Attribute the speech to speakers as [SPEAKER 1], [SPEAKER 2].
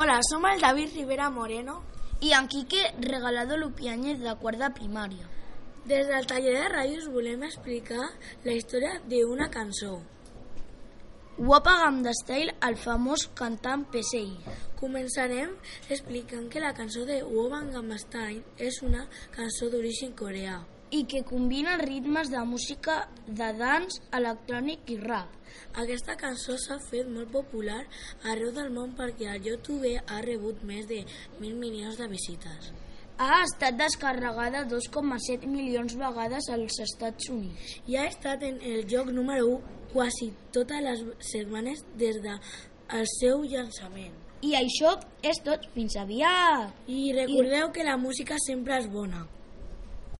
[SPEAKER 1] Hola, som el David Rivera Moreno
[SPEAKER 2] i en Quique Regalado Lupiáñez de quart de primària.
[SPEAKER 1] Des del taller de ràdios volem explicar la història d'una cançó.
[SPEAKER 2] Wapagam d'Estel, el famós cantant PSI.
[SPEAKER 1] Començarem explicant que la cançó de Wobangam Stein és una cançó d'origen coreà.
[SPEAKER 2] i que combina ritmes de música, de dans, electrònic i rap.
[SPEAKER 1] Aquesta cançó s'ha fet molt popular arreu del món perquè el YouTube ha rebut més de mil milions de visites.
[SPEAKER 2] Ha estat descarregada 2,7 milions vegades als Estats Units.
[SPEAKER 1] I ha estat en el lloc número 1 quasi totes les setmanes des del seu llançament.
[SPEAKER 2] I això és tot. Fins aviat!
[SPEAKER 1] I recordeu que la música sempre és bona.